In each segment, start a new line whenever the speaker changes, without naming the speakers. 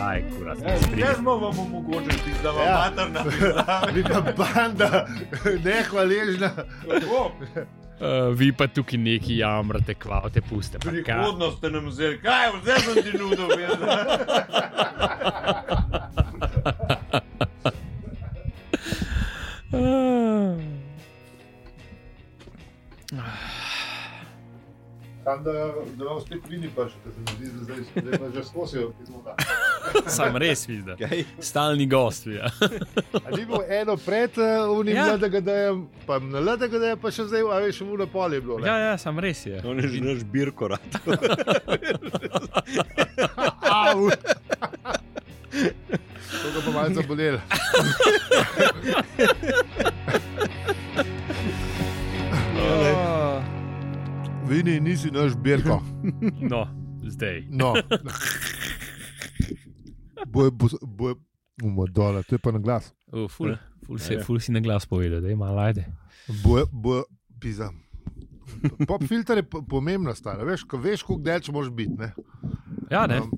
Aj, kurat.
Kaj smo vam omogočili, da vam
Ja.
mater napiše?
Neka banda, nehvaležna.
Uh, vi pa tukaj neki jamrate, kvavte, puste. pa kaj.
Prihodnost ste nam vzeli, kaj vse sem ti nudil, vedno.
Eh.
Tam, da, da vam spet vidi, pa še te se zdi, da zdaj zdaj pa že skozi izmuta.
Sam res vidim.
Kaj?
Stalni gost. Ja.
Ali bo eno pred eh, unim
Ja.
ja. LDGD-jem, pa na LDGD-jem, pa še zdaj, a veš, v Napoli je bilo.
ja,
ne?
ja, sam res je.
On je že naš birkorat.
Au! To ga bo malce zabolelo.
Oh.
Vini, nisi naš birko.
No, zdaj.
No. Boje, boje, umadole, to je pa na glas.
Uh, ful, ful, si, ful si na glas povedal, da ima lajde.
Boje, boje, pizam. Pop filter je po- pomembna stvar, a veš, ko veš, koliko delč moraš biti. ne.
Ja, ne.
Um,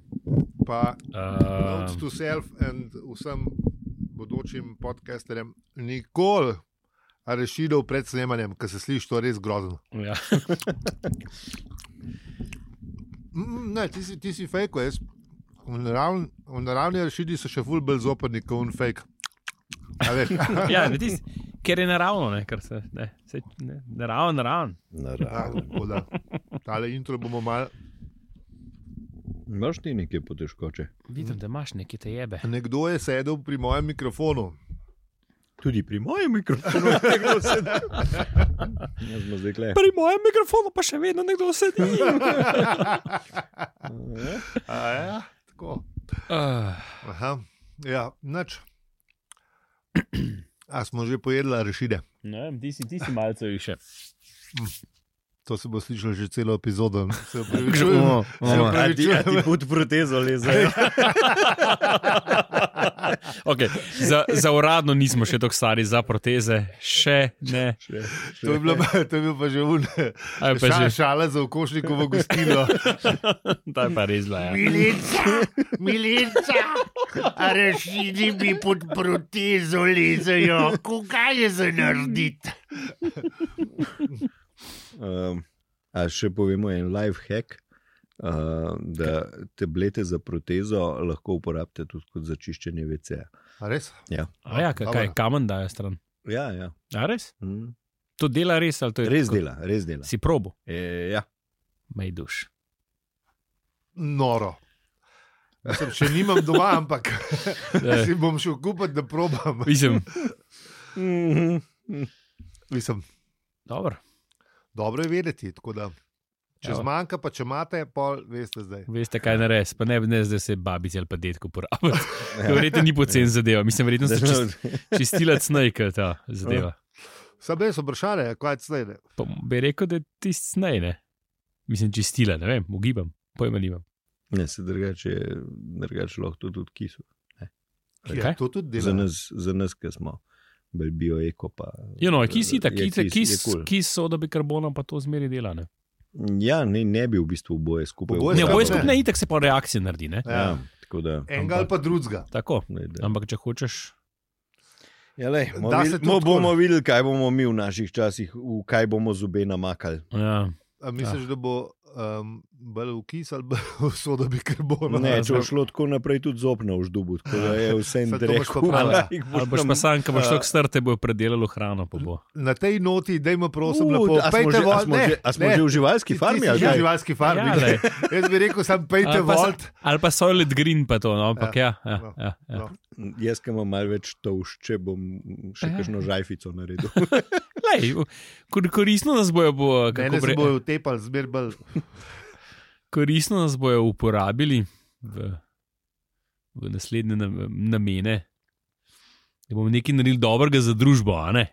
Pa notes
Uh,
to self in vsem bodočim podcasterjem, nikoli rešitev pred snemanjem, ker se sliši to res grozno.
ja.
Mm, Ne, ti si, ti si fake, jaz. V naravni, v naravni rešitvi so še ful bolj zoprni, kot un fake. A veš,
ja ne, tis, ker je naravno, ne, ker se, ne, se, ne, naravno, naravno.
tako, tako da, tale intro bomo mal,
Imaš ti nekaj potežkoče?
Vidim, da imaš nekaj te jebe.
nekdo je sedel pri mojem mikrofonu. No,
Tudi pri mojem mikrofonu je nekdo sedel. Ja, smo zdaj kle.
Pri mojem mikrofonu pa še vedno nekdo sedi.
A, ja, tako.
Uh,
Aha, ja, nič. A smo že pojedli rešitve.
ne, ti si, ti si malce više.
To se bo slišalo že celo epizodo. no. Se upravičujem. Se
A ti, a
upravičujem.
ti pod protezo leze.
Okay, za, za uradno nismo še tako stari, za proteze še ne.
To je, bilo, pa- to je bil pa že un.
Aj, pa
Ša,
že,
šala za okošnikovo gostilo.
ta je pa res zla. Ja.
Milica, milica, rešili bi pod protezo lezejo, kaj je za narediti.
Um, a še povemo en life hack, uh, da tablete za protezo lahko uporabite tudi kot za čiščenje VC-ja.
Res?
A ja, ka- kaj, kamen dajo stran.
Ja, ja.
A res?
Mm.
To dela res ali to je
Res
tako?
dela, res dela.
Si probo,
E, ja.
maj duš.
Noro. Mislim, še nimam doma, ampak
Ja.
si bom šel kupiti, da probam.
Eh, Mislim,
mm
Mislim,
dobro,
dobro je vedeti. tako Da, če
Evo.
zmanjka, pa če imate, pol veste zdaj.
veste kaj nares, pa ne, ne zdaj se babice ali pa detko uporabljati.
Ja.
To verjetno ni pocen zadeva, mislim, verjetno se čist, čistila snajka ta zadeva.
Sam res vprašanje, kaj je zdaj. ne?
Pa bi rekel, da je tisti snaj, ne. Mislim, čistila, ne vem, ugibam, pojma nimam.
Ne, Ja, se drugače, drugače lahko to tudi kisu.
Ja,
Kaj?
to tudi
Za
dela.
nas, za nas, ki smo bolj bioeko. Pa,
Ja, no, kis itak,
je
kis, kis,
je
kis,
cool.
kis soda bikarbona pa to zmeri dela, ne.
Ja, ne, ne bi v bistvu oboje skupaj.
Oboje
Ne,
uporabljal.
boje
tako, ne.
skupne itak se pa reakcije naredi, ne.
Ja, tako da.
Enega ali pa drugega.
Tako,
Ne, da.
ampak če hočeš,
Ja, lej, bomo
Da se tudi
videli- bomo-
tako.
bomo videli, kaj bomo mi v naših časih, v kaj bomo zobe namakali.
ja,
A misliš, da bo um, bolj vkis ali bolj usoda bi no? karbon?
Ne, če bo šlo tako naprej, tudi zopno v ždubu, tako da je vse
Saj to boš
drevo.
popravila.
ali boš pa sam, ki boš tako star, te bo predelalo hrano, pa bo.
Na tej noti, dajmo prosim,
Uh,
lepo,
a smo
pejte
že- a
vol.
smo
Ne,
že- a smo
ne.
že v živalski
Ti- ti
farmi,
si
ali
že
kaj?
v živalski farmi.
Ja, glej.
Jaz bi rekel, sam pejte
Ali pa
vol.
Ali pa Soylent Green, pa to, no, ampak ja. ja,
no,
ja, ja.
no.
Jaz, ki imam malo več tovšče, bom še
Ja.
kakšno žajfico naredil.
Lej, kor- koristno nas bojo, bo,
Mene
kako
se
bre,
bojo utepali, zmer bolj.
koristno nas bojo uporabili v, v naslednje nam- namene. Da bomo nekaj naredili dobrega za družbo, a ne?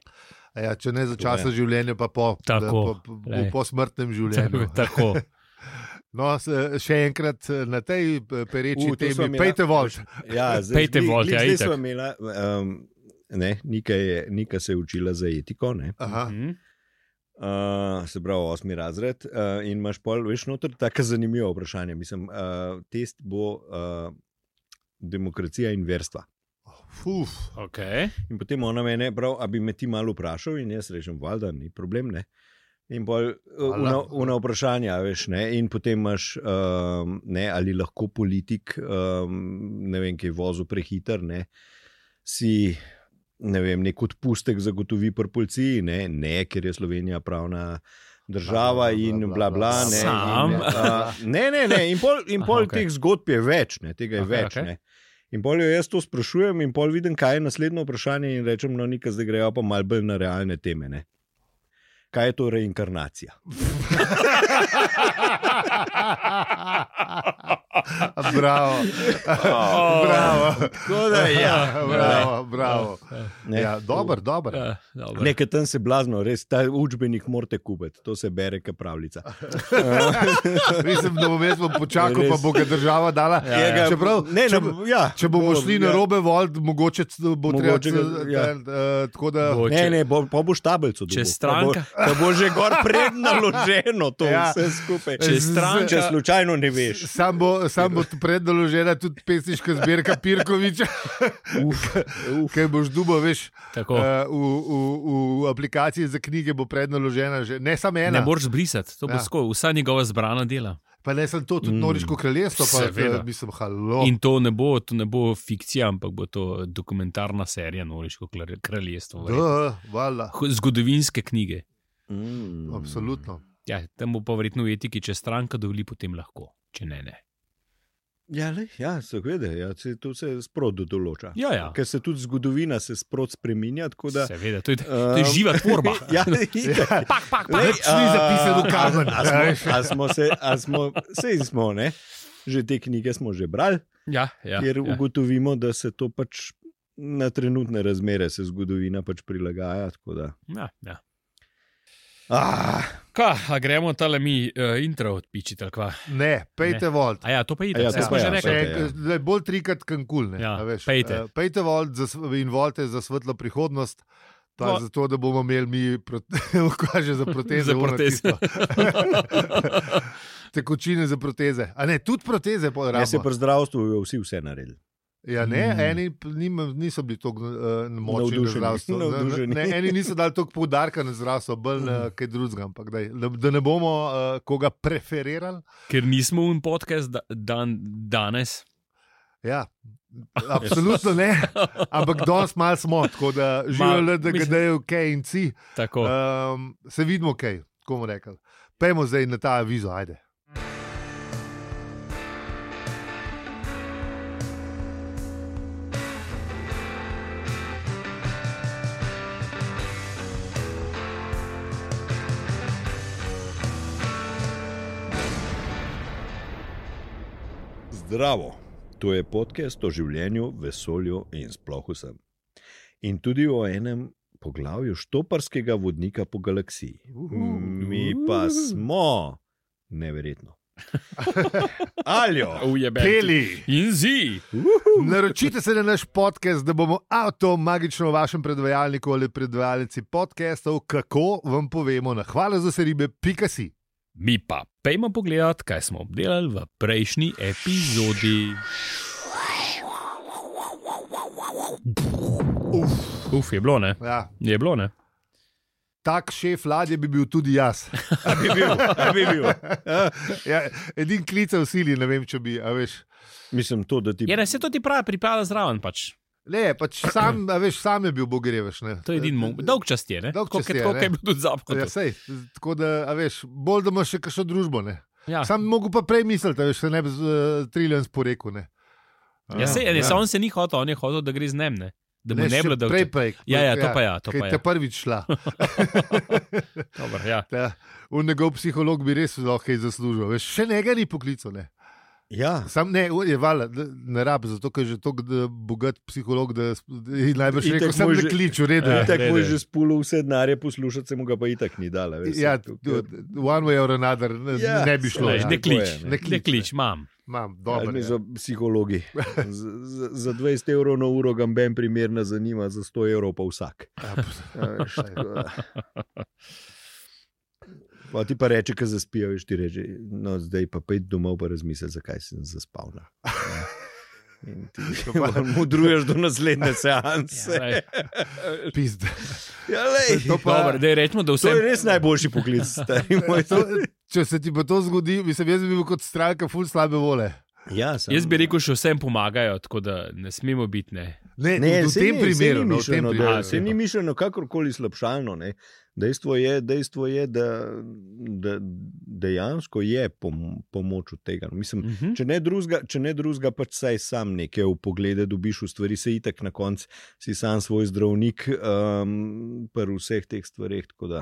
A Ja, če ne za časa življenja, pa po, da-
Tako,
po, po,
glej.
po smrtnem
Tako.
življenju.
tako.
No, se- še enkrat eh, na tej eh, pereči
U, to sva
temi,
imela-
pejte vol.
Ja, zdaj,
Pejte
glih-
volt,
glih
ja,
zdaj
itak.
sva imela, um, ne, Nika, je, Nika se je učila za etiko, ne,
Aha,
Mhm.
uh, se pravi osmi razred. Uh, in eh, imaš pol, veš, noter tako zanimivo vprašanje. Mislim, uh, test bo uh, demokracija in verstva.
Uf,
Okay.
In potem ona mene prav, a bi me ti malo vprašal, in jaz rečem, valjda, ni problem. Ne? In pol eh,
Valjda.
na vprašanje, veš, ne? in potem imaš, um, ne, ali lahko politik, um, ne vem, ki je vozil prehiter, ne? si ne vem, nek odpustek zagotovi pri policiji, ne, ne ker je Slovenija pravna. Država in bla, bla, ne.
Sam.
In, a, ne, ne, ne. In pol, in
Aha,
pol
okej.
teh zgodb je več, ne, tega je
Okej,
okay, več.
okej.
Okay. Ne. In pol jo jaz to sprašujem, in pol vidim, kaj je naslednje vprašanje, in rečem, no, nekaj zdaj grejo pa malo bolj na realne teme. Ne. Kaj je to reinkarnacija?
bravo. bravo.
Tako da, ja,
bravo, bravo.
Ne.
Ja, dober, dober.
Ja, dobro.
Nekaj tam se blazno, res ta učbenik morate kupiti, to se bere, kot pravljica.
Mislim, da bom jaz bom počakal, pa
Res.
bo ga država dala.
Ja, ja.
Čeprav,
ne,
če,
ne, ja,
če bomo
to-
šli
ja.
na robe, volt, mogoče c- bo treba.
Mogoče ga- ja.
ja. Tako da.
Bo-
Ne, ne, bo, pa boš tablico dobil.
Če stranka-
Pa bo, pa bo že gor prednaloženo to
Ja.
ja. vse skupaj.
Če
Z-
stranka-
Če slučajno ne veš.
Sam bo, sam bo predložena tudi pesniška zbirka Pirkoviča,
Uf, uf.
kaj boš dubo, veš.
Tako.
eh, V, v, v aplikaciji za knjige bo predložena že ne samo
Ne
ena,
moreš brisati, to bo
Ja.
tako, vsa njegova zbrana dela.
pa ne samo to, tudi
Mm.
Noriško kraljestvo, pa
Seveda.
eh, mislim, halo.
In to ne, bo, to ne bo fikcija, ampak bo to dokumentarna serija Noriško klar- kraljestvo. verjetno.
Da, valjda.
H- Zgodovinske knjige.
Mm.
Absolutno.
Ja, tam bo pa verjetno v etiki, če stranka dovoli, potem lahko, če ne. ne.
Ja, le, ja seveda, ja, se- to se sprodu določa.
Ja, ja.
Ker se tudi zgodovina se sprot spreminja. tako Da,
Seveda, to je, to je
Um,
živa tvorba.
ja, itak.
pak, pak, pak.
Lej,
Nič ni
a-
zapisano v kamen.
a- a smo- A smo se, a smo, sej smo, ne? Že te knjige smo že brali,
Ja, ja,
ker
ja.
ugotovimo, da se to pač na trenutne razmere se zgodovina pač prilagaja. tako Da,
Ja, ja.
ah,
Ka, a gremo tale mi uh, intro odpičiti, ali kva.
Ne, pejte
Ne.
volt.
A ja, to pa ide,
A ja,
ja,
to
smo
pa
že
ja,
rekli.
sorry.
Še enkrat, da je bolj trikrat
Ja,
kankul. Ja,
pejte.
pejte volt za, sv- in volte za svetlo prihodnost. Pa
Vo-
zato, da bomo imeli mi ukaže za proteze.
Za
ono
proteze.
tisto. Tekočine za proteze. A ne, tudi proteze po
ja, se
rabi.
pri zdravstvu jo vsi vse naredili.
Ja, ne,
Mm.
eni p- nima- niso bili tako uh, močni na
Navdušeni,
zdravstvo. Ne,
navdušeni. Mm.
Ne, eni niso dali toliko poudarka na zdravstvo, bolj na kaj drugega. ampak daj, Da, da ne bomo uh, koga preferirali.
Ker nismo un podcast da, dan, danes.
Ja, absolutno ne. Ampak danes malo smo, tako da živijo
Malo,
le, da
mislim- Oh.
gledajo kaj in ci.
Tako.
Eh,
Um, se vidimo kaj, tako bomo rekli. Pejmo zdaj na ta avizo, ajde.
Zdravo, to je podcast o življenju, vesolju in sploh vsem. In tudi o enem poglavju štoparskega vodnika po galaksiji. Mi pa smo, neverjetno. Aljo,
Ujebe.
Peli!
In zi.
Naročite se na naš podcast, da bomo avtomagično v vašem predvajalniku ali predvajalnici podcastov, kako vam povemo na hvala za seribe, pika si.
Mi pa pejmo pogledat, kaj smo obdelali v prejšnji epizodi. Uf, je bilo ne.
Ja,
Je bilo ne.
tak šef ladje bi bil tudi jaz.
a bi bil, a bi bil.
ja, edin klical sili, ne vem, če bi, a veš.
Mislim, to, da ti
Ja, ne, se to ti pravi, pripada zraven pač.
Ne, pač sam, a veš, sam je bil bogreveš. ne. Eh,
To je edin mong. Dolg čas je, ne? Tako
Dolgčas
kot
je,
tako,
ne.
kaj je bilo tudi zapko.
Ja, sej, tako da, a veš, bolj da imaš še kakšno družbo. Ne?
Ja,
Sam mogo pa prej misliti, da se ne bi z uh, triljem sporekel. Ne?
ja, sej, ja. on se ni hotel, on je hotel, da gre z njem, ne. Da mu ne, ne
še
bilo dolg.
prej, prej.
Ja, ja, to pa ja, to
Kaj
pa
te
ja.
prvič šla.
Dobar, ja.
Ta, v njegov psiholog bi res lahko kaj zaslužil. Veš, še njega ni poklical. Ne?
Ja,
Sam ne, o, je vala, ne rab, zato ker je že tako da, bogat psiholog, da s- je najbrž
Itak
rekel,
mu
sem
je
že
že-
klič, v redu. je."
Ja.
tako je
ne.
že spulo vse denarje, poslušati se mu ga pa itak ni dala. Veš,
Ja,
Tako
t- one way or another, ne,
Ja,
ne bi šlo.
Lej,
saj,
ja.
Ne
tako je,
klič,
ne.
ne
Ne klič,
klič, imam.
Imam, dobro.
Dobro,
je.
ja. Za psihologi. Z, za, za 20 evrov na uro ga ben primerna zanima, za 100 evrov pa vsak.
Ja, pos-
A veš, tako da. Pa ti pa reče, ki zaspijo, veš ti reče, no zdaj pa pojdi domov, pa razmisli, zakaj si zaspal. In ti modruješ do
Ja,
naslednje seanse.
Zdaj,
Pizda.
Ja, lej,
To pa-
Dobro, daj rečemo, da
to
vse
je res najboljši poklic, stari moj.
To, če se ti pa to zgodi, mislim, jaz bi bil kot stranka ful slabe vole.
Ja, sem-
Jaz bi rekel, še vsem pomagajo, tako da ne smemo biti. Ne.
Ne,
Ne,
ne, v
saj
tem
ni-
primeru,
saj
no,
ni
v tem
mišljeno,
primeru.
da- saj ni mišljeno kakorkoli slabšalno. Ne. Dejstvo je, dejstvo je da, da dejansko je pom, pomoč od tega. no. Mislim,
Uh -huh.
Če ne drugega, če ne drugega, pač saj sam neke upoglede dobiš v stvari, se itek na koncu si sam svoj zdravnik um, pri vseh teh stvareh. tako da,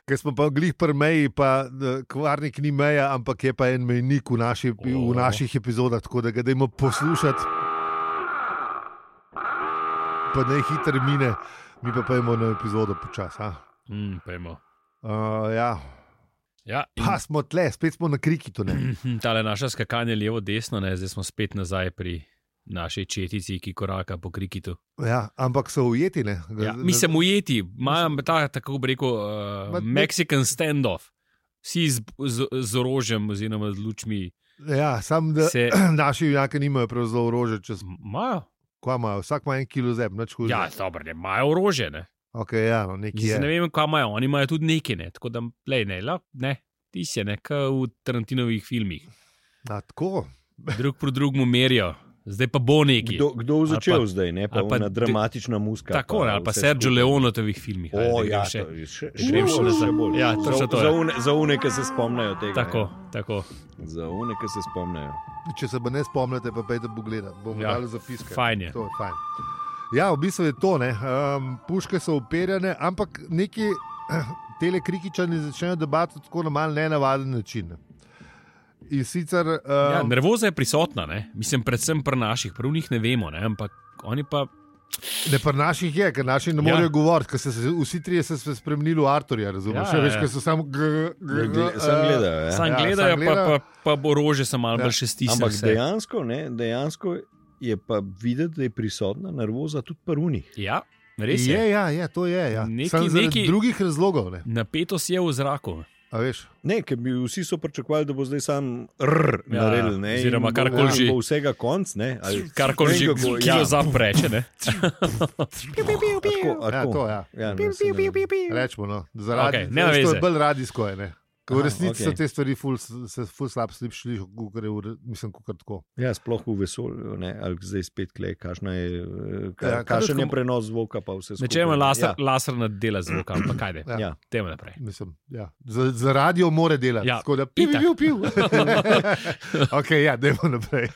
Ker smo pa glih pri meji, pa eh, kvarnik ni meja, ampak je pa en mejnik v, naši,
O.
v naših epizodah, tako da ga dajmo poslušati. Pa naj hitro mine, mi pa pojmo na epizodo počasi. a.
Mm, pojmo.
Uh, ja.
ja, in
Pa smo tle, spet smo na kriki.
Hm, Tale naša skakanje levo, desno, ne? zdaj smo spet nazaj pri naši četici, ki koraka po krikitu.
Ja, ampak so ujeti. Ne?
Ja, mislim, ujeti, imam ta, tako bi rekel, uh,
Ma ne-
Mexican standoff. Vsi z, z, z orožjem, oziroma z lučmi,
ja, sam da
se
naši junaki nimajo prav zelo orožje, čez
imajo.
kva imajo. Vsak ima en kilo zeb, nič hudega.
Ja, dobro, ne imajo orožje. Ne,
okay, ja, no, nekaj
Zdaj,
je.
ne vem, kaj imajo, oni imajo tudi nekaj, ne? tako da lej, ne, la, ne, ti si ne, kot v Tarantinovih filmih.
A, tako.
Drug po drugemu merijo, zdaj pa bo nekaj.
Kdo, kdo bo
Ali
začel
pa-
zdaj, ne pa,
ali pa
pa
ti-
dramatična muska.
Tako, ne, ali pa
vse
Sergio
skupaj.
Leonotovih filmih. ali
O,
da
ja,
grem še-
to je še,
da grem
še,
še nazaj.
še bolj.
Ja, točno
za,
to je.
za, une, za une, ki se spomnijo tega.
Tako, tako.
Ne. Za une, ki se spomnijo.
Če se pa ne spomnite, pa pejte pogledat, bomo
Ja,
ja, dali zapiske.
fajn je.
To je fajn. Ja, v bistvu je to. ne. Um, puške so uperjene, ampak neki telekrikičani začnejo debato tako na mal nenavaden način. ne. In sicer um,
Ja, nervoza je prisotna, ne? mislim, predvsem pri naših, pri njih ne vemo, ne? ampak oni pa.
Ja. Ne, pri naših je, ker naši ne
Ja.
morejo govoriti, ker so se vsi trije se se spremenili v Arturja, razumeli.
Ja,
Še več,
ja.
ker so samo
Ne, gle-
gledali.
Sem gledal. Ja.
Sam
Ja,
gledajo,
samo
pa,
gledajo.
pa, pa bo rože se malo
Ja.
ja. bolj šestisne.
Ampak dejansko, ne, dejansko je pa videti, da je prisotna nervoza tudi pri unih.
Ja, res
Je,
je.
ja, ja, to je. Ja.
Neki-
Samo zaradi
neki-
drugih razlogov. Ne.
Napetost je v zraku.
A veš,
Ne, ker bi vsi so pričakovali, da bo zdaj sam rr,
Ja,
ja, naredil. Ne,
oziroma
in bo-
karkoli
in
že.
Bo vsega konc, ne. ali-
Kar koli
ne vem,
že
kako-
Ja.
kilo zapreče. ne.
A
ja,
tako, a tako.
to ja.
Ja, ne, saj ne vem.
Rečemo, no. zaradi
Okej,
okay,
ne
tega,
veze.
je bolj radijsko. Je, ne. Ker v
Aha,
resnici okay. so
okej.
te stvari ful, s- se ful slab slišiš, kot je v re- mislim, kakor tako.
ja, sploh v vesolju, ne, ali zdaj spet kle, kakšna je, eh, ka,
Ja,
ja,
kako-
kakšen je prenos zvoka, pa vse skupaj.
Nečemo laser,
ja.
ja. laser nad dela zvoka, ampak kaj ne.
Ja.
Ja.
Temo naprej.
Mislim, ja. za, za radio mora delati,
Ja,
ja, tako da pil,
itak.
pil, pil. ok, ja, dajmo naprej.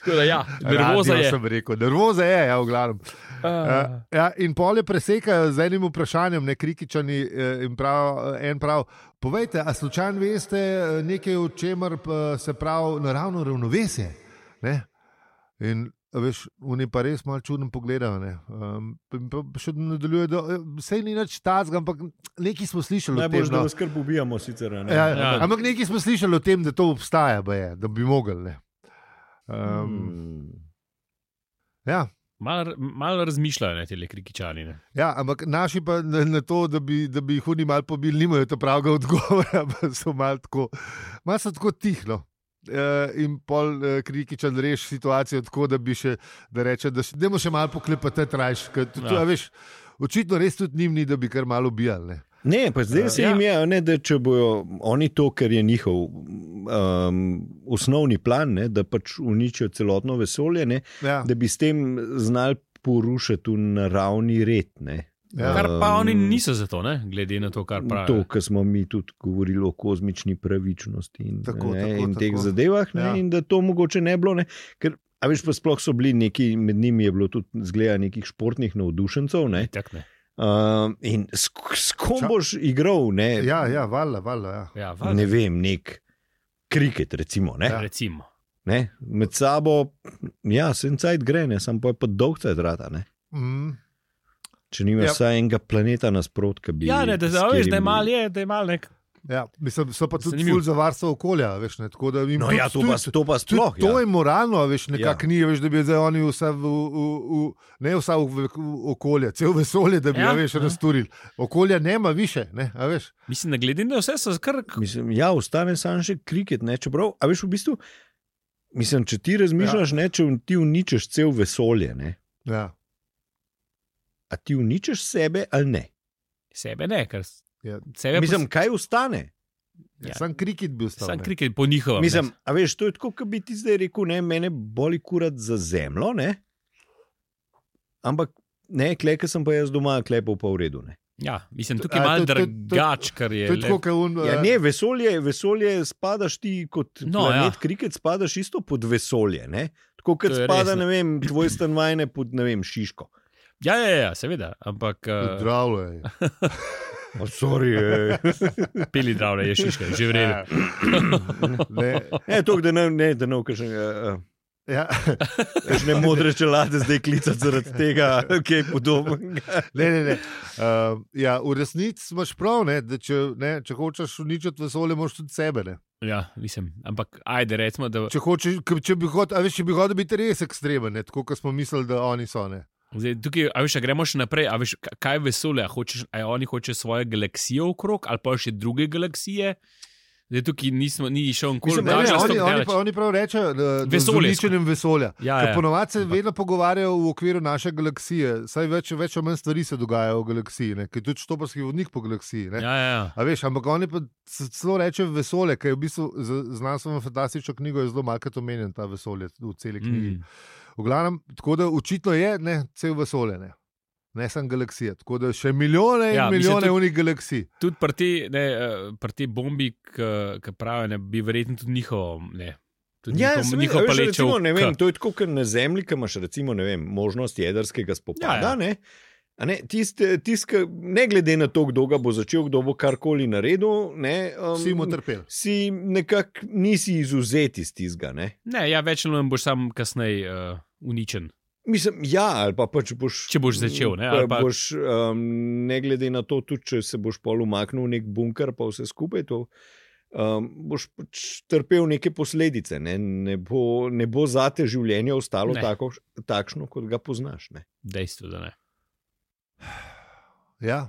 Tako da ja, nervoza
radio
je.
sem rekel, nervoza je, ja, v glavnem. Uh, ja, in polje presekajo z enim vprašanjem, ne krikičani. eh, in Prav, eh, en prav, povejte, a slučajno veste eh, nekaj, o čemer eh, se pravi naravno ravnovesje? Ne? In a veš, oni pa res malo čudno pogledajo. ne. Um, pa- pa- pa še nadaljuje, da vse ni nič tazga, ampak nekaj smo slišali o tem.
Najbolj, da
No.
vas skrb ubijamo, sicer. a Ne,
Ja,
Ja.
ja. Ampak nekaj smo slišali o tem, da to obstaja, baje, da bi mogli. ne. Um, hmm.
Hmm.
Ja,
Malo mal razmišljajo, ne te krikičani. Ne.
Ja, ampak naši pa na, na to, da bi, da bi jih oni malo pobili, nimajo ta pravega odgovora, pa so malo tako, malo so tako tihno. Uh, in pol uh, krikičen reši situacijo tako, da bi še, da reče, da idemo še malo poklepati, trajš.
Ja.
Ja. Veš, očitno res tudi njim ni, da bi kar malo ubijali. ne.
Ne, pa zdaj se jim
Ja.
je, a ne, da če bojo oni to, kar je njihov um, osnovni plan, ne, da pač uničijo celotno vesolje, ne,
Ja.
da bi s tem znali porušiti naravni red. Ne.
Ja.
Kar pa
Um,
oni niso za to, ne? glede na to, kar
To,
pravijo.
kar smo mi tudi govorili o kozmični pravičnosti in,
Tako,
ne,
tako,
in teh
tako.
zadevah, ne,
Ja.
ja. in da to mogoče ne bilo. Ne, ker, a veš, pa sploh so bili neki, med njimi je bilo tudi zgleda nekih športnih navdušencev. Ne,
Tak, ne.
um, in s, s kom
Ča-
boš igral? Ne,
Ja, ja, valjda, valjda. Ja.
Ja,
ne
valjda,
vem, nek kriket, recimo. Ne? Ja.
recimo.
Ne? Med sabo, ja, sem cajt gre, ne, sem pa je pa dolg cajt rata. Ne?
Mm.
Če nimaš
Ja.
vsaj enega planeta nasprot, ki bi
Ja, ne, da,
s
da, veš, da je
katerim-
malo, je, da je malo nek.
Ja, mislim, so pa tudi
Zanimivo.
ful za varstvo okolja. Veš, ne, tako da jim
No,
tudi-
ja, to
tudi-
pa, to pa
Tudi
sploh.
to
ja.
je moralno, a veš, nekako ja.
Ja.
ni, veš, da bi zdaj oni vsa, v, v, v, ne vsa v, v, v okolje, cel vesolje, da bi
Ja,
ja. veš,
ja.
razturili. Okolja nema više, ne, a veš.
Mislim, da gledam, da vse so skrb.
Mislim, ja, ostane samo še kriket. Ne? Čeprav, a veš, v bistvu, mislim, če ti razmišljaš, ja. ne, če ti uničiš cel vesolje, ne?
Ja,
a ti uničiš sebe ali ne.
Sebe ne, ker. s-
Ja.
Sebe
mislim, kaj ostane?
Ja.
ja. Sam krikit bi ostal.
Sam
ne.
kriket po njihovem.
Mislim, a veš, to je tako, kot bi ti zdaj rekel, ne, mene boli kurat za zemljo, ne? ampak ne, kleke sem pa jaz doma, klepo pa v redu. Ne?
Ja, mislim,
To-
tukaj je
a,
malo
to- to- to-
drugač, kar je.
To je
le-
tako, kot un.
Ja,
eh,
ne, vesolje, vesolje spadaš ti kot
No,
no, planet,
ja.
ja. kriket spadaš isto pod vesolje. Ne? Tako kot
To je res,
spada,
ne.
ne vem, tvoj stanovanje pod, ne vem, Šiško.
Ja, ja, ja, seveda, ampak uh,
Zdravljen je.
Oh, sorry,
peli zdravlje je šiška, že
Ja.
vreme.
Ne,
ne, to, da ne, ne, da ne vkašem. Uh,
ja,
ne modre čelade zdaj klicati zaradi tega, kaj je podobno.
ne, ne, ne. Uh, ja, v resnici imaš prav, ne, da če, ne, če hočeš uničiti vesolje, moraš tudi sebe. Ne.
Ja, mislim, ampak ajde, recimo, da
Če, hočeš, k- če bi hotel, a veš, če bi hotel biti res ekstremen, ne, tako kot smo mislili, da oni so. Ne.
Zdaj, tukaj, a veš, a gremo še naprej. A veš, ka- kaj je vesolje? A Hočeš, a oni hočejo svoje galaksije okrog ali pa še druge galaksije? Zdaj, tukaj nismo, ni šel nikoli
Mislim, ne, ne, oni, oni, pa,
več.
oni prav rečejo, da da z
Vesolje
uničenjem vesolja.
Ja,
Ker
ja.
ponovadi se
Ampak-
vedno pogovarjajo v okviru naše galaksije, saj več, več ali manj stvari se dogajajo v galaksiji, ne, ker je tudi štoparski vodnik po galaksiji. Ne.
Ja, ja.
A veš, ampak oni pa c- celo rečejo vesolje, ker je v bistvu z znanstveno fantastično knjigo je zelo malkrat omenjen ta vesolje v celi knjigi.
Mm.
V glavnem, tako da očitno je ne, cel vesolje, ne, ne samo galaksije. Tako da še milijone
Ja,
in ja,
mislim,
milijone
tudi-
unih galaksij.
Tudi pri tej, ne, eh, pri tej bombi, ki pravijo, ne, bi verjetno tudi njihovo. Ne, tudi
Ja,
njihovo,
seveda,
njihovo
veš,
paleče
recimo, ne
v K.
vem, to je tako, ker na zemlji, ki imaš recimo, ne vem, možnost jedrskega
Ja,
spopada. Ja,
ja.
ja. Ne? a Ne, tist, tist, ki- ne glede na to, kdo ga bo začel, kdo bo karkoli naredil, ne,
Vsi bomo
um,
trpeli.
si nekako nisi izuzet iz tizga. Ne?
Ne, ja, več ali manj boš sam kasneje uh, uničen.
Mislim, ja, ali pa, pa če boš.
Če boš začel, ne, ali
Pa,
pa-
pa... Boš, um, ne glede na to, tudi če se boš pol umaknil v nek bunker, pa vse skupaj. To, um, boš pač trpel neke posledice. Ne, ne, bo, ne bo za te življenje ostalo
Ne.
tako, takšno, kot ga poznaš. Ne.
Dejstvo, da ne.
Ja.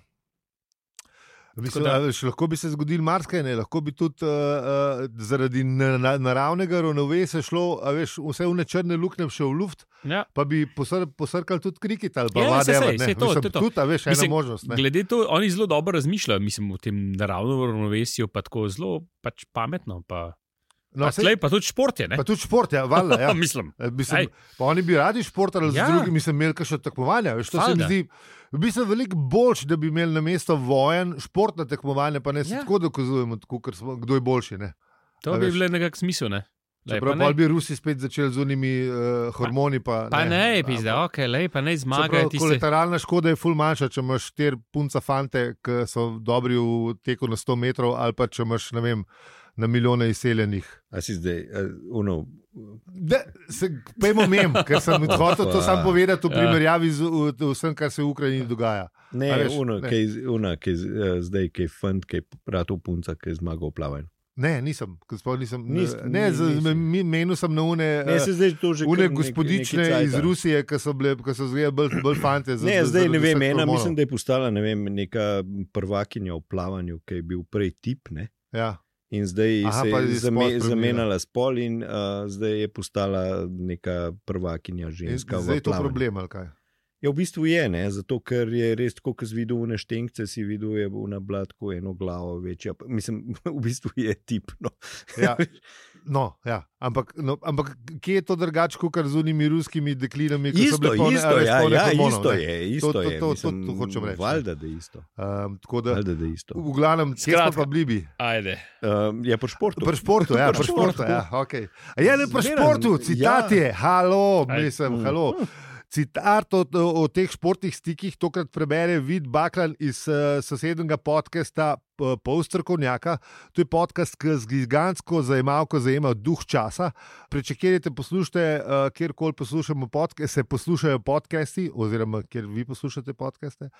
Mislim,
da-
da, veš, lahko bi se zgodil marsikaj, ne, lahko bi tudi uh, uh, zaradi na, na, naravnega ravnovesja šlo, a veš, vse v nečrne luknje še v luft,
Ja.
pa bi posr, posrkal tudi krikit ali pa
Ja, ja, sej,
whatever,
sej,
ne.
sej to,
Mislim,
to je to.
Tudi, a veš,
Mislim,
ena možnost. Ne.
Glede to, oni zelo dobro razmišljajo, mislim, o tem naravnem ravnovesju, pa tako zelo pač pametno. Pa, no, pa,
sej-
tlej, pa tudi šport je, ne?
pa tudi šport, ja, valjda, ja.
Ja. Mislim,
E,
Ej.
Mislim, pa oni bi radi športali
Ja.
ja. z drugimi, mislim, imeli kakšno tekmovanje. Veš, to se mi
Valjda.
zdi v bistvu veliko boljše, da bi imeli na mesto vojen športna tekmovanja, pa ne se
Ja.
ja. tako dokazujemo, tako, ker smo, kdo je boljši. Ne?
to
A
bi
veš.
bilo nekako smiselno. Lej,
Čeprav
pa
pol
ne,
bi Rusi spet začeli z unimi uh, hormoni. Pa,
pa ne,
Ampak-
pizda, ok, lej, pa ne zmagajo
Čeprav
tiste.
Kolateralna škoda je ful manjša, če imaš štiri punca fante, ki so dobri v teku na 100 metrov, ali pa če imaš ne vem, na milijone izseljenih.
A si zdaj, uno,
Da, se, pejmo mem, ker sem hotel to sam povedati v
Ja.
primerjavi z v, vsem, kar se v Ukrajini dogaja.
ne,
A
veš,
veš,
uno,
ne.
Kaj, una, kaj, z- eh, zdaj, ki je fant, ki je bratov punca, ki je zmagal v plavanju.
Ne, nisem, ker sploh nisem. eh,
Nis-
ne, z,
nisem.
mi- menil sem na une,
Ne,
eh,
se zdaj to že
une
kar nek-
gospodične
neki cajt,
iz
a.
Rusije, ki so bile, ki so zgledali bolj, bolj fante. za-
Ne,
za-
zdaj ne
zaradi
vem,
vseh
ena
hormonov.
mislim, da je postala ne vem, neka prvakinja v plavanju, ki je bil prej tip. Ne?
Ja.
In zdaj Aha,
Aha,
se
pa je
je
spol
zame,
spremenila.
zamenjala spol, in uh, zdaj je postala neka prvakinja
In
ženska.
Zdaj je
v
to
plavanju.
problem, ali kaj?
Ja, v bistvu je, ne? zato ker je res tako, kot si videl v neštenkce, si videl je v nablatku eno glavo večja. Pa- Mislim, v bistvu je tipno.
Ja. No, ja. ampak, no, ampak kje je to drugače, kot kar z unimi ruskimi deklinami, ki so
Isto,
bile polne,
isto,
a veš,
ja,
polne
ja,
hormonov,
isto
ne.
je, isto
to-
je.
to- to-
mislim,
to hočem reči, ne.
Valjda, da je isto.
Um, tako da,
Valjda, da je isto.
v glavnem, kje smo
Skratka.
pa bili? bi?
Ajde.
Um, je po športu.
Pri športu, ja,
Pri
pri
športu.
športu. Ja, okay. Je le pri
Zmeraj,
športu, citat
ja. Mm.
je, halo,
Aj.
mislim, halo. Citat o, o teh športnih stikih tokrat prebere Vid Baklan iz uh, sosednjega podcasta uh, Polstrkovnjaka. To je podcast, ki z gigantsko zajemalko zajema duh časa. Prečekirajte, poslušajte, uh, kjerkoli poslušamo podcast, se poslušajo podcasti, oziroma kjer vi poslušate podcaste.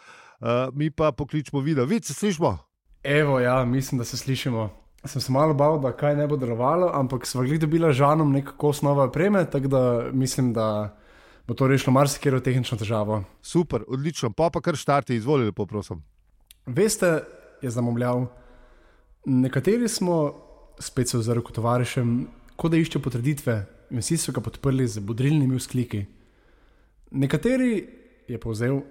Uh, mi pa pokličemo video. Vid, se slišimo.
Evo, ja, mislim, da se slišimo. Sem se malo bal, da kaj ne bo delovalo, ampak sva glih dobila žanom nekako osnova opreme, tako da mislim, da bo to rešilo marsikero tehnično težavo.
Super, odlično, pa pa kar štarte, izvolite, prosim.
Veste, je zamomljal, nekateri smo, spet se ozrl kot tovarišem, kot da išče potrditve in vsi so ga podprli z bodrilnimi vzkliki. Nekateri, je povzel,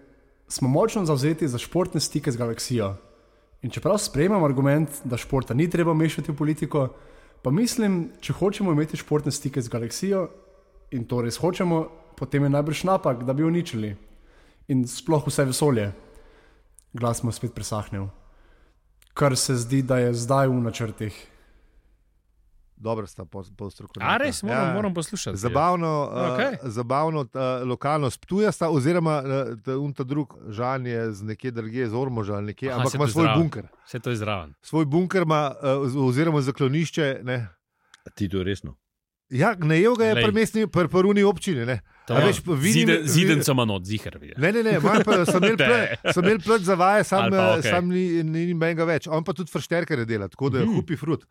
smo močno zavzeti za športne stike z galaksijo. In čeprav sprejemam argument, da športa ni treba mešati v politiko, pa mislim, če hočemo imeti športne stike z galaksijo in to res hočemo, potem je najbrž napak, da bi jo uničili. In sploh vse vesolje. Glas mu je spet presahnil. Kar se zdi, da je zdaj v načrtih.
Dobro sta polstrokovnjaka.
A res, moram, ja. moram poslušati.
Zabavno, okay.
Okej.
uh, zabavno uh, lokalno sptuja sta, oziroma uh, ta, un ta drug žan je z nekje drugje, z Ormoža ali nekje,
Aha,
ampak
se
ima
to
svoj
zraven.
bunker.
Vse to je zraven.
Svoj bunker ima, uh, oziroma zaklonišče. Ne.
Ti to resno.
Ja, najel ga je
Glej.
pri mestni, pri prvuni občini. Ne,
To
A
je.
veš, pa vidim-
Zide-
vidim-
Zidenco ima not, zihar. vidim.
ne, ne, ne manj pa sem imel
Ne.
pl- sem imel plot za vaje, sam,
Ali pa
okay.
okej.
sam ni, ni, ni menga več. On pa tudi fršterkere dela, tako da je
Mhm.
hupi frut.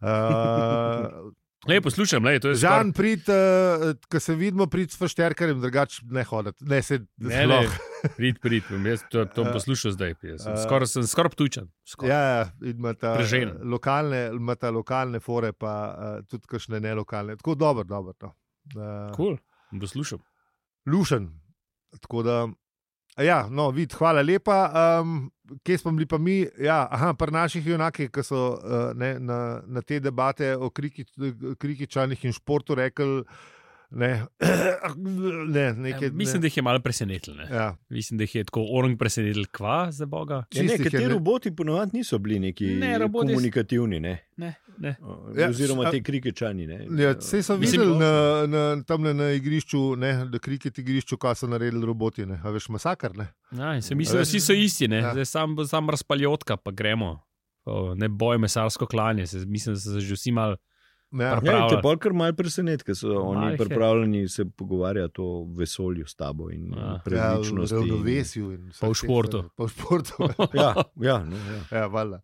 Uh,
Lej, poslušam, lej, to je
Žan, prid, uh, ko se vidimo, prid s fršterkarjem, drugače ne hoditi. Ne, se
Ne,
sploh.
ne, prid, prid, bom jaz to, to bom poslušal zdaj. jaz sem Skoraj sem skoraj tučen. Skor.
Eh, Ja, ja, in ima ta eh,
Prežen.
lokalne, ima ta lokalne fore, pa uh, tudi kakšne nelokalne. Tako dobro, dobro. No. Uh,
Cool, bom poslušal.
Lušen. Tako da, ja, no, vid, hvala lepa. Um, kje smo bili pa mi? Ja, aha, pri naših junakih, ki so uh, ne, na, na te debate o kriki, krikičanih in športu rekli, ne, ne, nekaj.
Ja, Mislim, da
ne,
jih je malo presenetilo. ne.
ja,
Mislim, da jih je tako orang presenetil, kva za boga.
Ja, ne,
čistih je
ker ti
ne-
roboti ponovadi niso bili neki
Ne,
ne,
roboti s-
komunikativni, ne?
Ne, ne.
Ja,
Ja, oziroma
a-
te krikečani. Ne?
Ja, vse so
eh, Mislim- no.
videli na, na, tam na igrišču, ne, na kriket igrišču, kaj so naredili roboti. Ne. A veš, masakr. Ne.
Ja, sem mislil, da vsi so isti, ne.
Ja.
Zdaj sam, bo- sam razpaljotka, pa gremo. O, ne boj, mesarsko klanje. Se, mislim, da so se že vsi malo.
Ja.
Ja, te
pripravljali.
bolj kar mal presenet, ker so
Malo jih
oni
je.
pripravljeni se pogovarjati o vesolju s tabo in
Ja.
ja.
Ja,
pravičnosti. in-
ravnovesju in vseh
Pa v
teh
športu.
stvari. Pa v športu.
Ja, ja, no, ja.
Ja, valjda.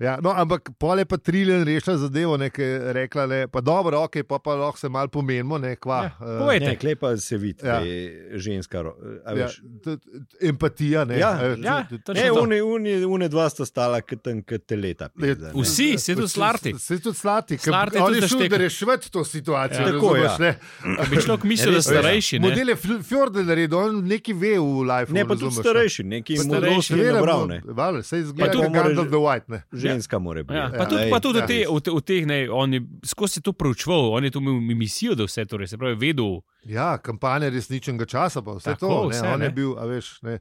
ja, no, ampak pol je pa trilen rešila zadevo, nekaj rekla, ne, pa dobro, ok, pa, pa lahko se mal pomenimo, ne, kva.
Ja,
eh,
povej.
Ne, klej pa se vidi,
Ja.
da je ženska. ro- a
ja,
veš.
t- t- empatija, ne.
Ja,
a veš,
ja,
t- t-
točno
Ne,
to.
une, une, une dva sta stala kot te leta.
je-
Vsi, saj tudi slati.
Saj tudi slati, ker
Slati
on
tudi
je šel, da
zašteka.
rešiti to situacijo.
Ja. Tako,
razumeš,
ja.
ne.
A Bi človek mislil, da
Res, ja.
starejši. Ne.
Model je Fl- Fjorden naredil, on nekaj ve v life.
Ne, pa tudi starejši, neki
Pa
mladosti je nabral. Ne.
Vale, se izgleda,
tudi
da je Gandalf
moraš-
the White. Ne.
Ženska mora biti.
Ja, pa tudi,
Ej,
pa tudi
ja.
v, te, v, te, v teh, ne, on je skozi to proučeval, on je to imel misijo, da vse torej, se pravi, vedel.
Ja, kampanja resničnega časa, pa vse
Tako,
to. Ne,
vse,
on je
ne.
bil, a veš. Ne.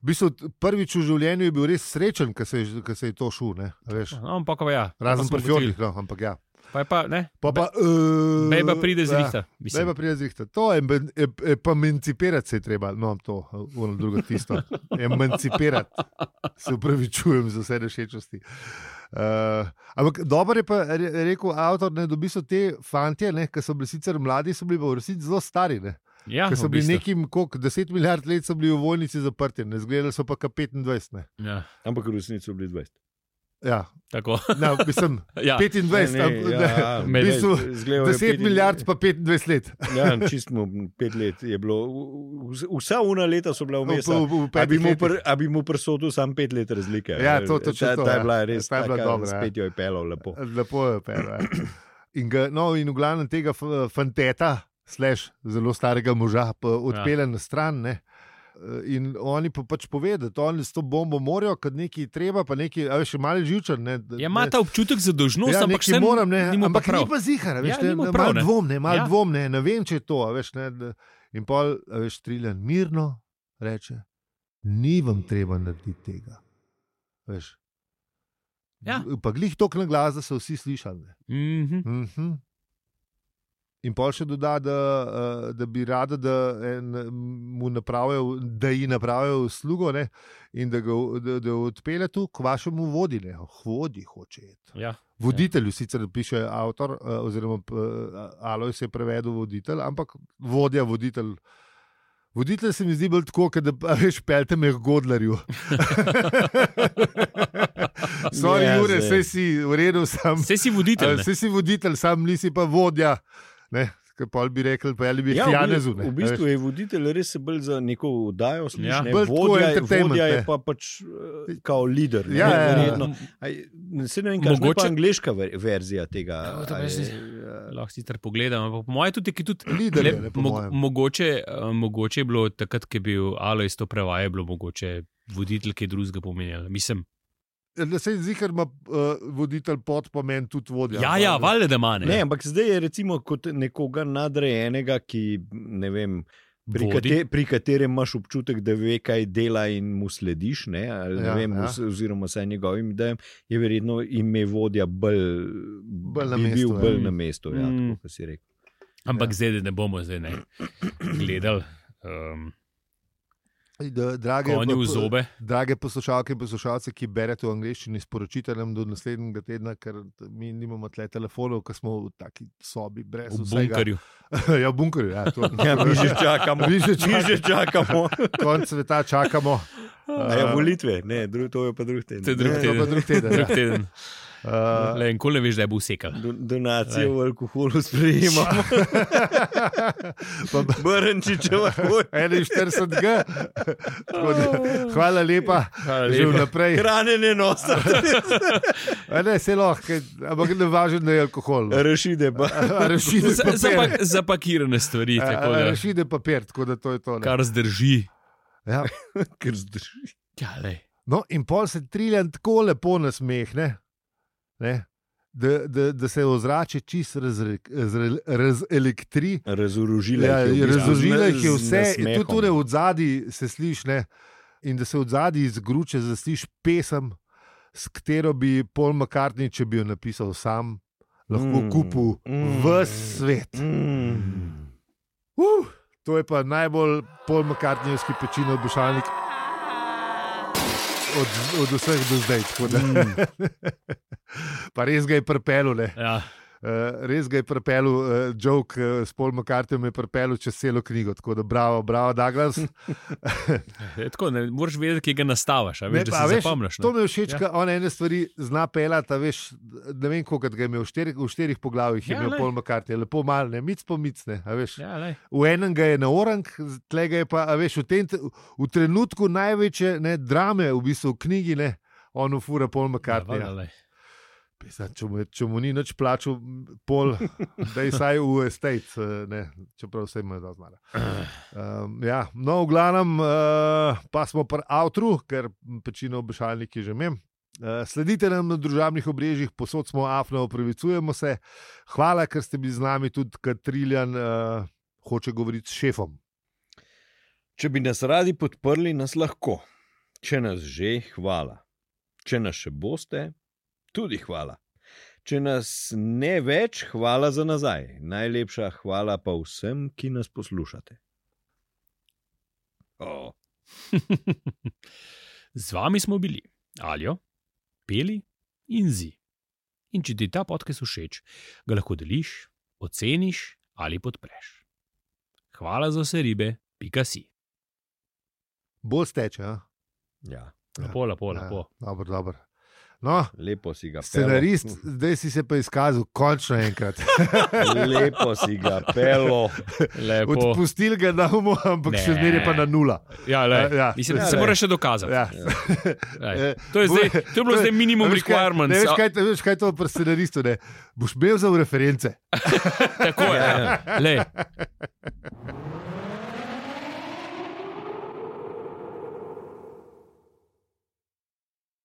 V bistvu, t- prvič v življenju je bil res srečen, ker se, je- ko se je to šul. ne, a veš.
No, ampak, pa ja.
Razen
pa
pri
smo ugotovili.
Fjordih, no, ampak ja.
Pa je pa, ne.
Pa pa, eh,
Beba pride z
ja,
rihta.
Beba pride z rihta. To je, emben- ep- ep- emancipirati se je treba, no, to, ono drugo tisto. Emancipirati. Se upravičujem za vse rešečosti. Uh, ampak dobro je pa re, rekel avtor, da dobi so te fantje, ne, ki so bili sicer mladi, so bili pa v resnici zelo stari. Ne.
Ja,
Ker so
v
bili
bistvu.
nekim, koliko 10 milijard let so bili v vojnici zaprti, ne zgledali so pa ka 25. Ne.
Ja,
Ampak v resnici so bili 20.
Ja,
tako.
na, mislim,
Ja.
25,
Ne, ne, ja,
ampak
ja,
ne, v bistvu
izgledal je
10
pet-
milijard pa 25 let.
Ja, čistmo pet let je bilo. v- v- Vsa una leta so bila vmes.
V- v- v
A bi
petih
mu
letih.
pr- a bi mu prsodil sam pet let razlike.
Ja, to- točno
ta,
to,
ta
ja.
je bila res
Ta je bila
taka,
dobra, ja.
Spet jo je pelal lepo.
Lepo je, pero. Ja. In, ga, no, in v glavnem tega f- fanteta, slash, zelo starega moža, pa odpelje ja. na stran. Ne. In oni pa pač povedo, da oni s to bombo morajo, kad neki treba, pa neki, a veš, malo živčen. Ne, da-
Ja, ima
ne.
ta občutek za dožnost,
Ja,
No, ampak
nekaj
še
moram, ne,
Ni mu pa
ampak
prav.
ni pa zihar, a veš,
Ja,
ne,
ni mu
ne,
prav,
malo
ne.
dvom, ne, malo
Ja.
dvom, ne, ne vem, če je to, a veš, ne, da- in pol, a veš, triljan mirno reče, ni vam treba narediti tega, A veš.
Ja.
Pa glih tok na glas, da so vsi slišali.
Mhm.
Mhm. In pol še doda, da, eh, da bi rada, da en, eh, mu napravijo, da ji napravijo uslugo ne, in da ga o- da, da jo odpelje tu k vašemu vodi, ne, vodi hoče. Iti.
Ja.
Voditelju sicer piše avtor, eh, oziroma Alois je prevedel voditelj, ampak vodja voditelj. Voditelj se mi zdi bolj tako, kot da a veš, pelte me k godlarju. Sorry,
Ja,
yeah, Jure,
zdaj.
vse si v redu, sam.
Vse si voditelj. ne?
Vse si voditelj, sam nisi pa vodja. Ne? Kaj pol bi rekel, pa ali bi ja,
v,
Janezu.
bistvu, v bistvu je voditelj res se bolj za neko oddajo,
Ja.
ja. ne,
Bolj tako
vodja,
entertainment,
vodja je
ne.
pa pač eh, kao lider. Ne,
Ja, ja, ja.
verjetno. Aj, saj ne vem, kakšna je
Mogoče-
pa angliška ver, verzija tega.
Ja, to
a
pa jaz
je-
Lahko sicer pogledam, ampak po mojem tudi, ki tudi
Lider je,
le-
ne, po
mo-
mojem.
mogoče, eh, mogoče je bilo takrat, ko je bil Alois to prevaja, je bilo mogoče voditelj, ki je drugega pomenil. Mislim,
Da se zikar ima uh, voditelj pod pomen tudi vodja.
ja, ja, valjda, da ima
Ne, ampak zdaj je recimo kot nekoga nadrejenega, ki ne vem. Pri,
Vodi.
kate, pri katerem imaš občutek, da ve, kaj dela in mu slediš, ne? ali ne
Ja,
ja, vem,
ja.
ja. oziroma vsaj njegovim idejam, je verjetno ime vodja bolj,
Bolj na
bi
mestu,
bil
ja.
bolj na mestu. Ja,
Mm.
tako kot si rekel.
Ampak ja. zdaj da ne bomo zdaj ne, gledali um,
Da, drage,
konju v
Ja, pa-
zobe.
Drage poslušalke in poslušalce, ki berete v angleščini, sporočite nam do naslednjega tedna, ker mi nimamo tle telefonov, ker smo v taki sobi, brez
V
vsega.
bunkerju.
ja, v bunkerju. Ja, to,
Ja, mi že čakamo,
Mi že
mi že čakamo.
konc sveta čakamo.
A Ja, volitve, ne, dru, to je pa drug teden.
To je drug
Ne,
To
teden.
pa drug teden.
Drug
Ja.
teden.
Uh,
Le en kole veš, da je bo usekal.
do- Donacije v alkoholu sprejemamo. Brnčičeva,
G. Tako da, hvala lepa,
Hvala
že
lepa.
vnaprej.
hranjene nosa.
A Ne, se lahko, ker- ampak ne važno, da je alkohol. no.
Rešite pa.
A Rešite
Za-
papir.
zapak- Zapakirane stvari,
A-
tako
a
da,
Rešite papir, Eh, tako da to je to. ne.
kar zdrži.
Ja.
Ker zdrži.
Ja, lej.
No, in pol se triljan tako lepo nasmehne, ne, da, da, da se ozrače čist razre- razre- razelektri.
Razorožila
Ja,
jih je. v bistvu
Razložila
z-
jih je torej
z
vse, in
nasmehom.
tudi tole od zadaj se sliši, ne, in da se od zadaj iz gruče zasliš pesem, s katero bi Paul McCartney, če bi jo napisal sam, lahko
Mm,
mm, kupil
mm.
mm. v svet.
Mm.
Uh, to je pa najbolj Paul McCartneyovski pečino obešalnik. Od, od vseh do zdaj. tako da.
Mm.
pa res ga je prepelo, ne.
Ja,
Eh, res ga je prepelo, uh, jok uh, s Paul McCartneyom je prepelo čez celo knjigo. Tako da, bravo, bravo, Douglas.
je E, tako, ne moreš vedeti, kje ga nastaviš, a veš,
Ne,
ne, da
pa,
se
veš,
zapomniš. ne.
To mi je všeč, ja. on ene stvari zna pelati, a veš, ne vem, koliko ga je imel, v štirih, v štirih poglavjih je
Ja,
ja, imel
glej.
Paul McCartney, lepo malne, mic po micne, a veš.
Ja, lej.
V enem ga je na orang, tle ga je pa, a veš, v, tem, tre- v trenutku največje ne, drame, v bistvu v knjigi, ne, on ufura pol
Ja,
makartnja.
lej.
Pisa, Če, mu- če mu ni nič plačal, pol, da je vsaj v estate, eh, ne, čeprav vse ima zelo zmara. Um, ja, no, v glavnem, uh, pa smo pri avtru, ker pečino obešalniki že imam. Uh, sledite nam na družabnih omrežjih, posod smo afno, opravičujemo se. Hvala, ker ste bili z nami tudi, ker Triljan uh, hoče govoriti s šefom.
Če bi nas radi podprli, nas lahko. Če nas že, hvala. Če nas še boste, tudi hvala. Če nas ne več, hvala za nazaj. Najlepša hvala pa vsem, ki nas poslušate. Oh.
Z vami smo bili Aljo, Peli in Zi. In če ti ta podcast všeč, ga lahko deliš, oceniš ali podpreš. Hvala za vse ribe, pika si.
Bolj steče. a?
Ja,
Lepo, lepo, lepo.
Ja, dobro, dobro. No,
lepo si ga pel.
scenarist, zdaj si se pa izkazal, končno enkrat.
Lepo si ga pelo.
lepo.
Odpustil ga damo, ampak
Ne.
ne. še zmeraj pa na nula.
Ja, lej.
Ja.
Mislim,
Ja,
se
lej.
moraš še dokazati.
Ja. Eh,
Lej. To, je zdaj, to je bilo zdaj minimum
A veš kaj-
requirement.
Ne veš, kaj, ne veš, kaj je to pri scenaristu,
Ja.
ne? Boš imel za reference.
Tako je. Lej.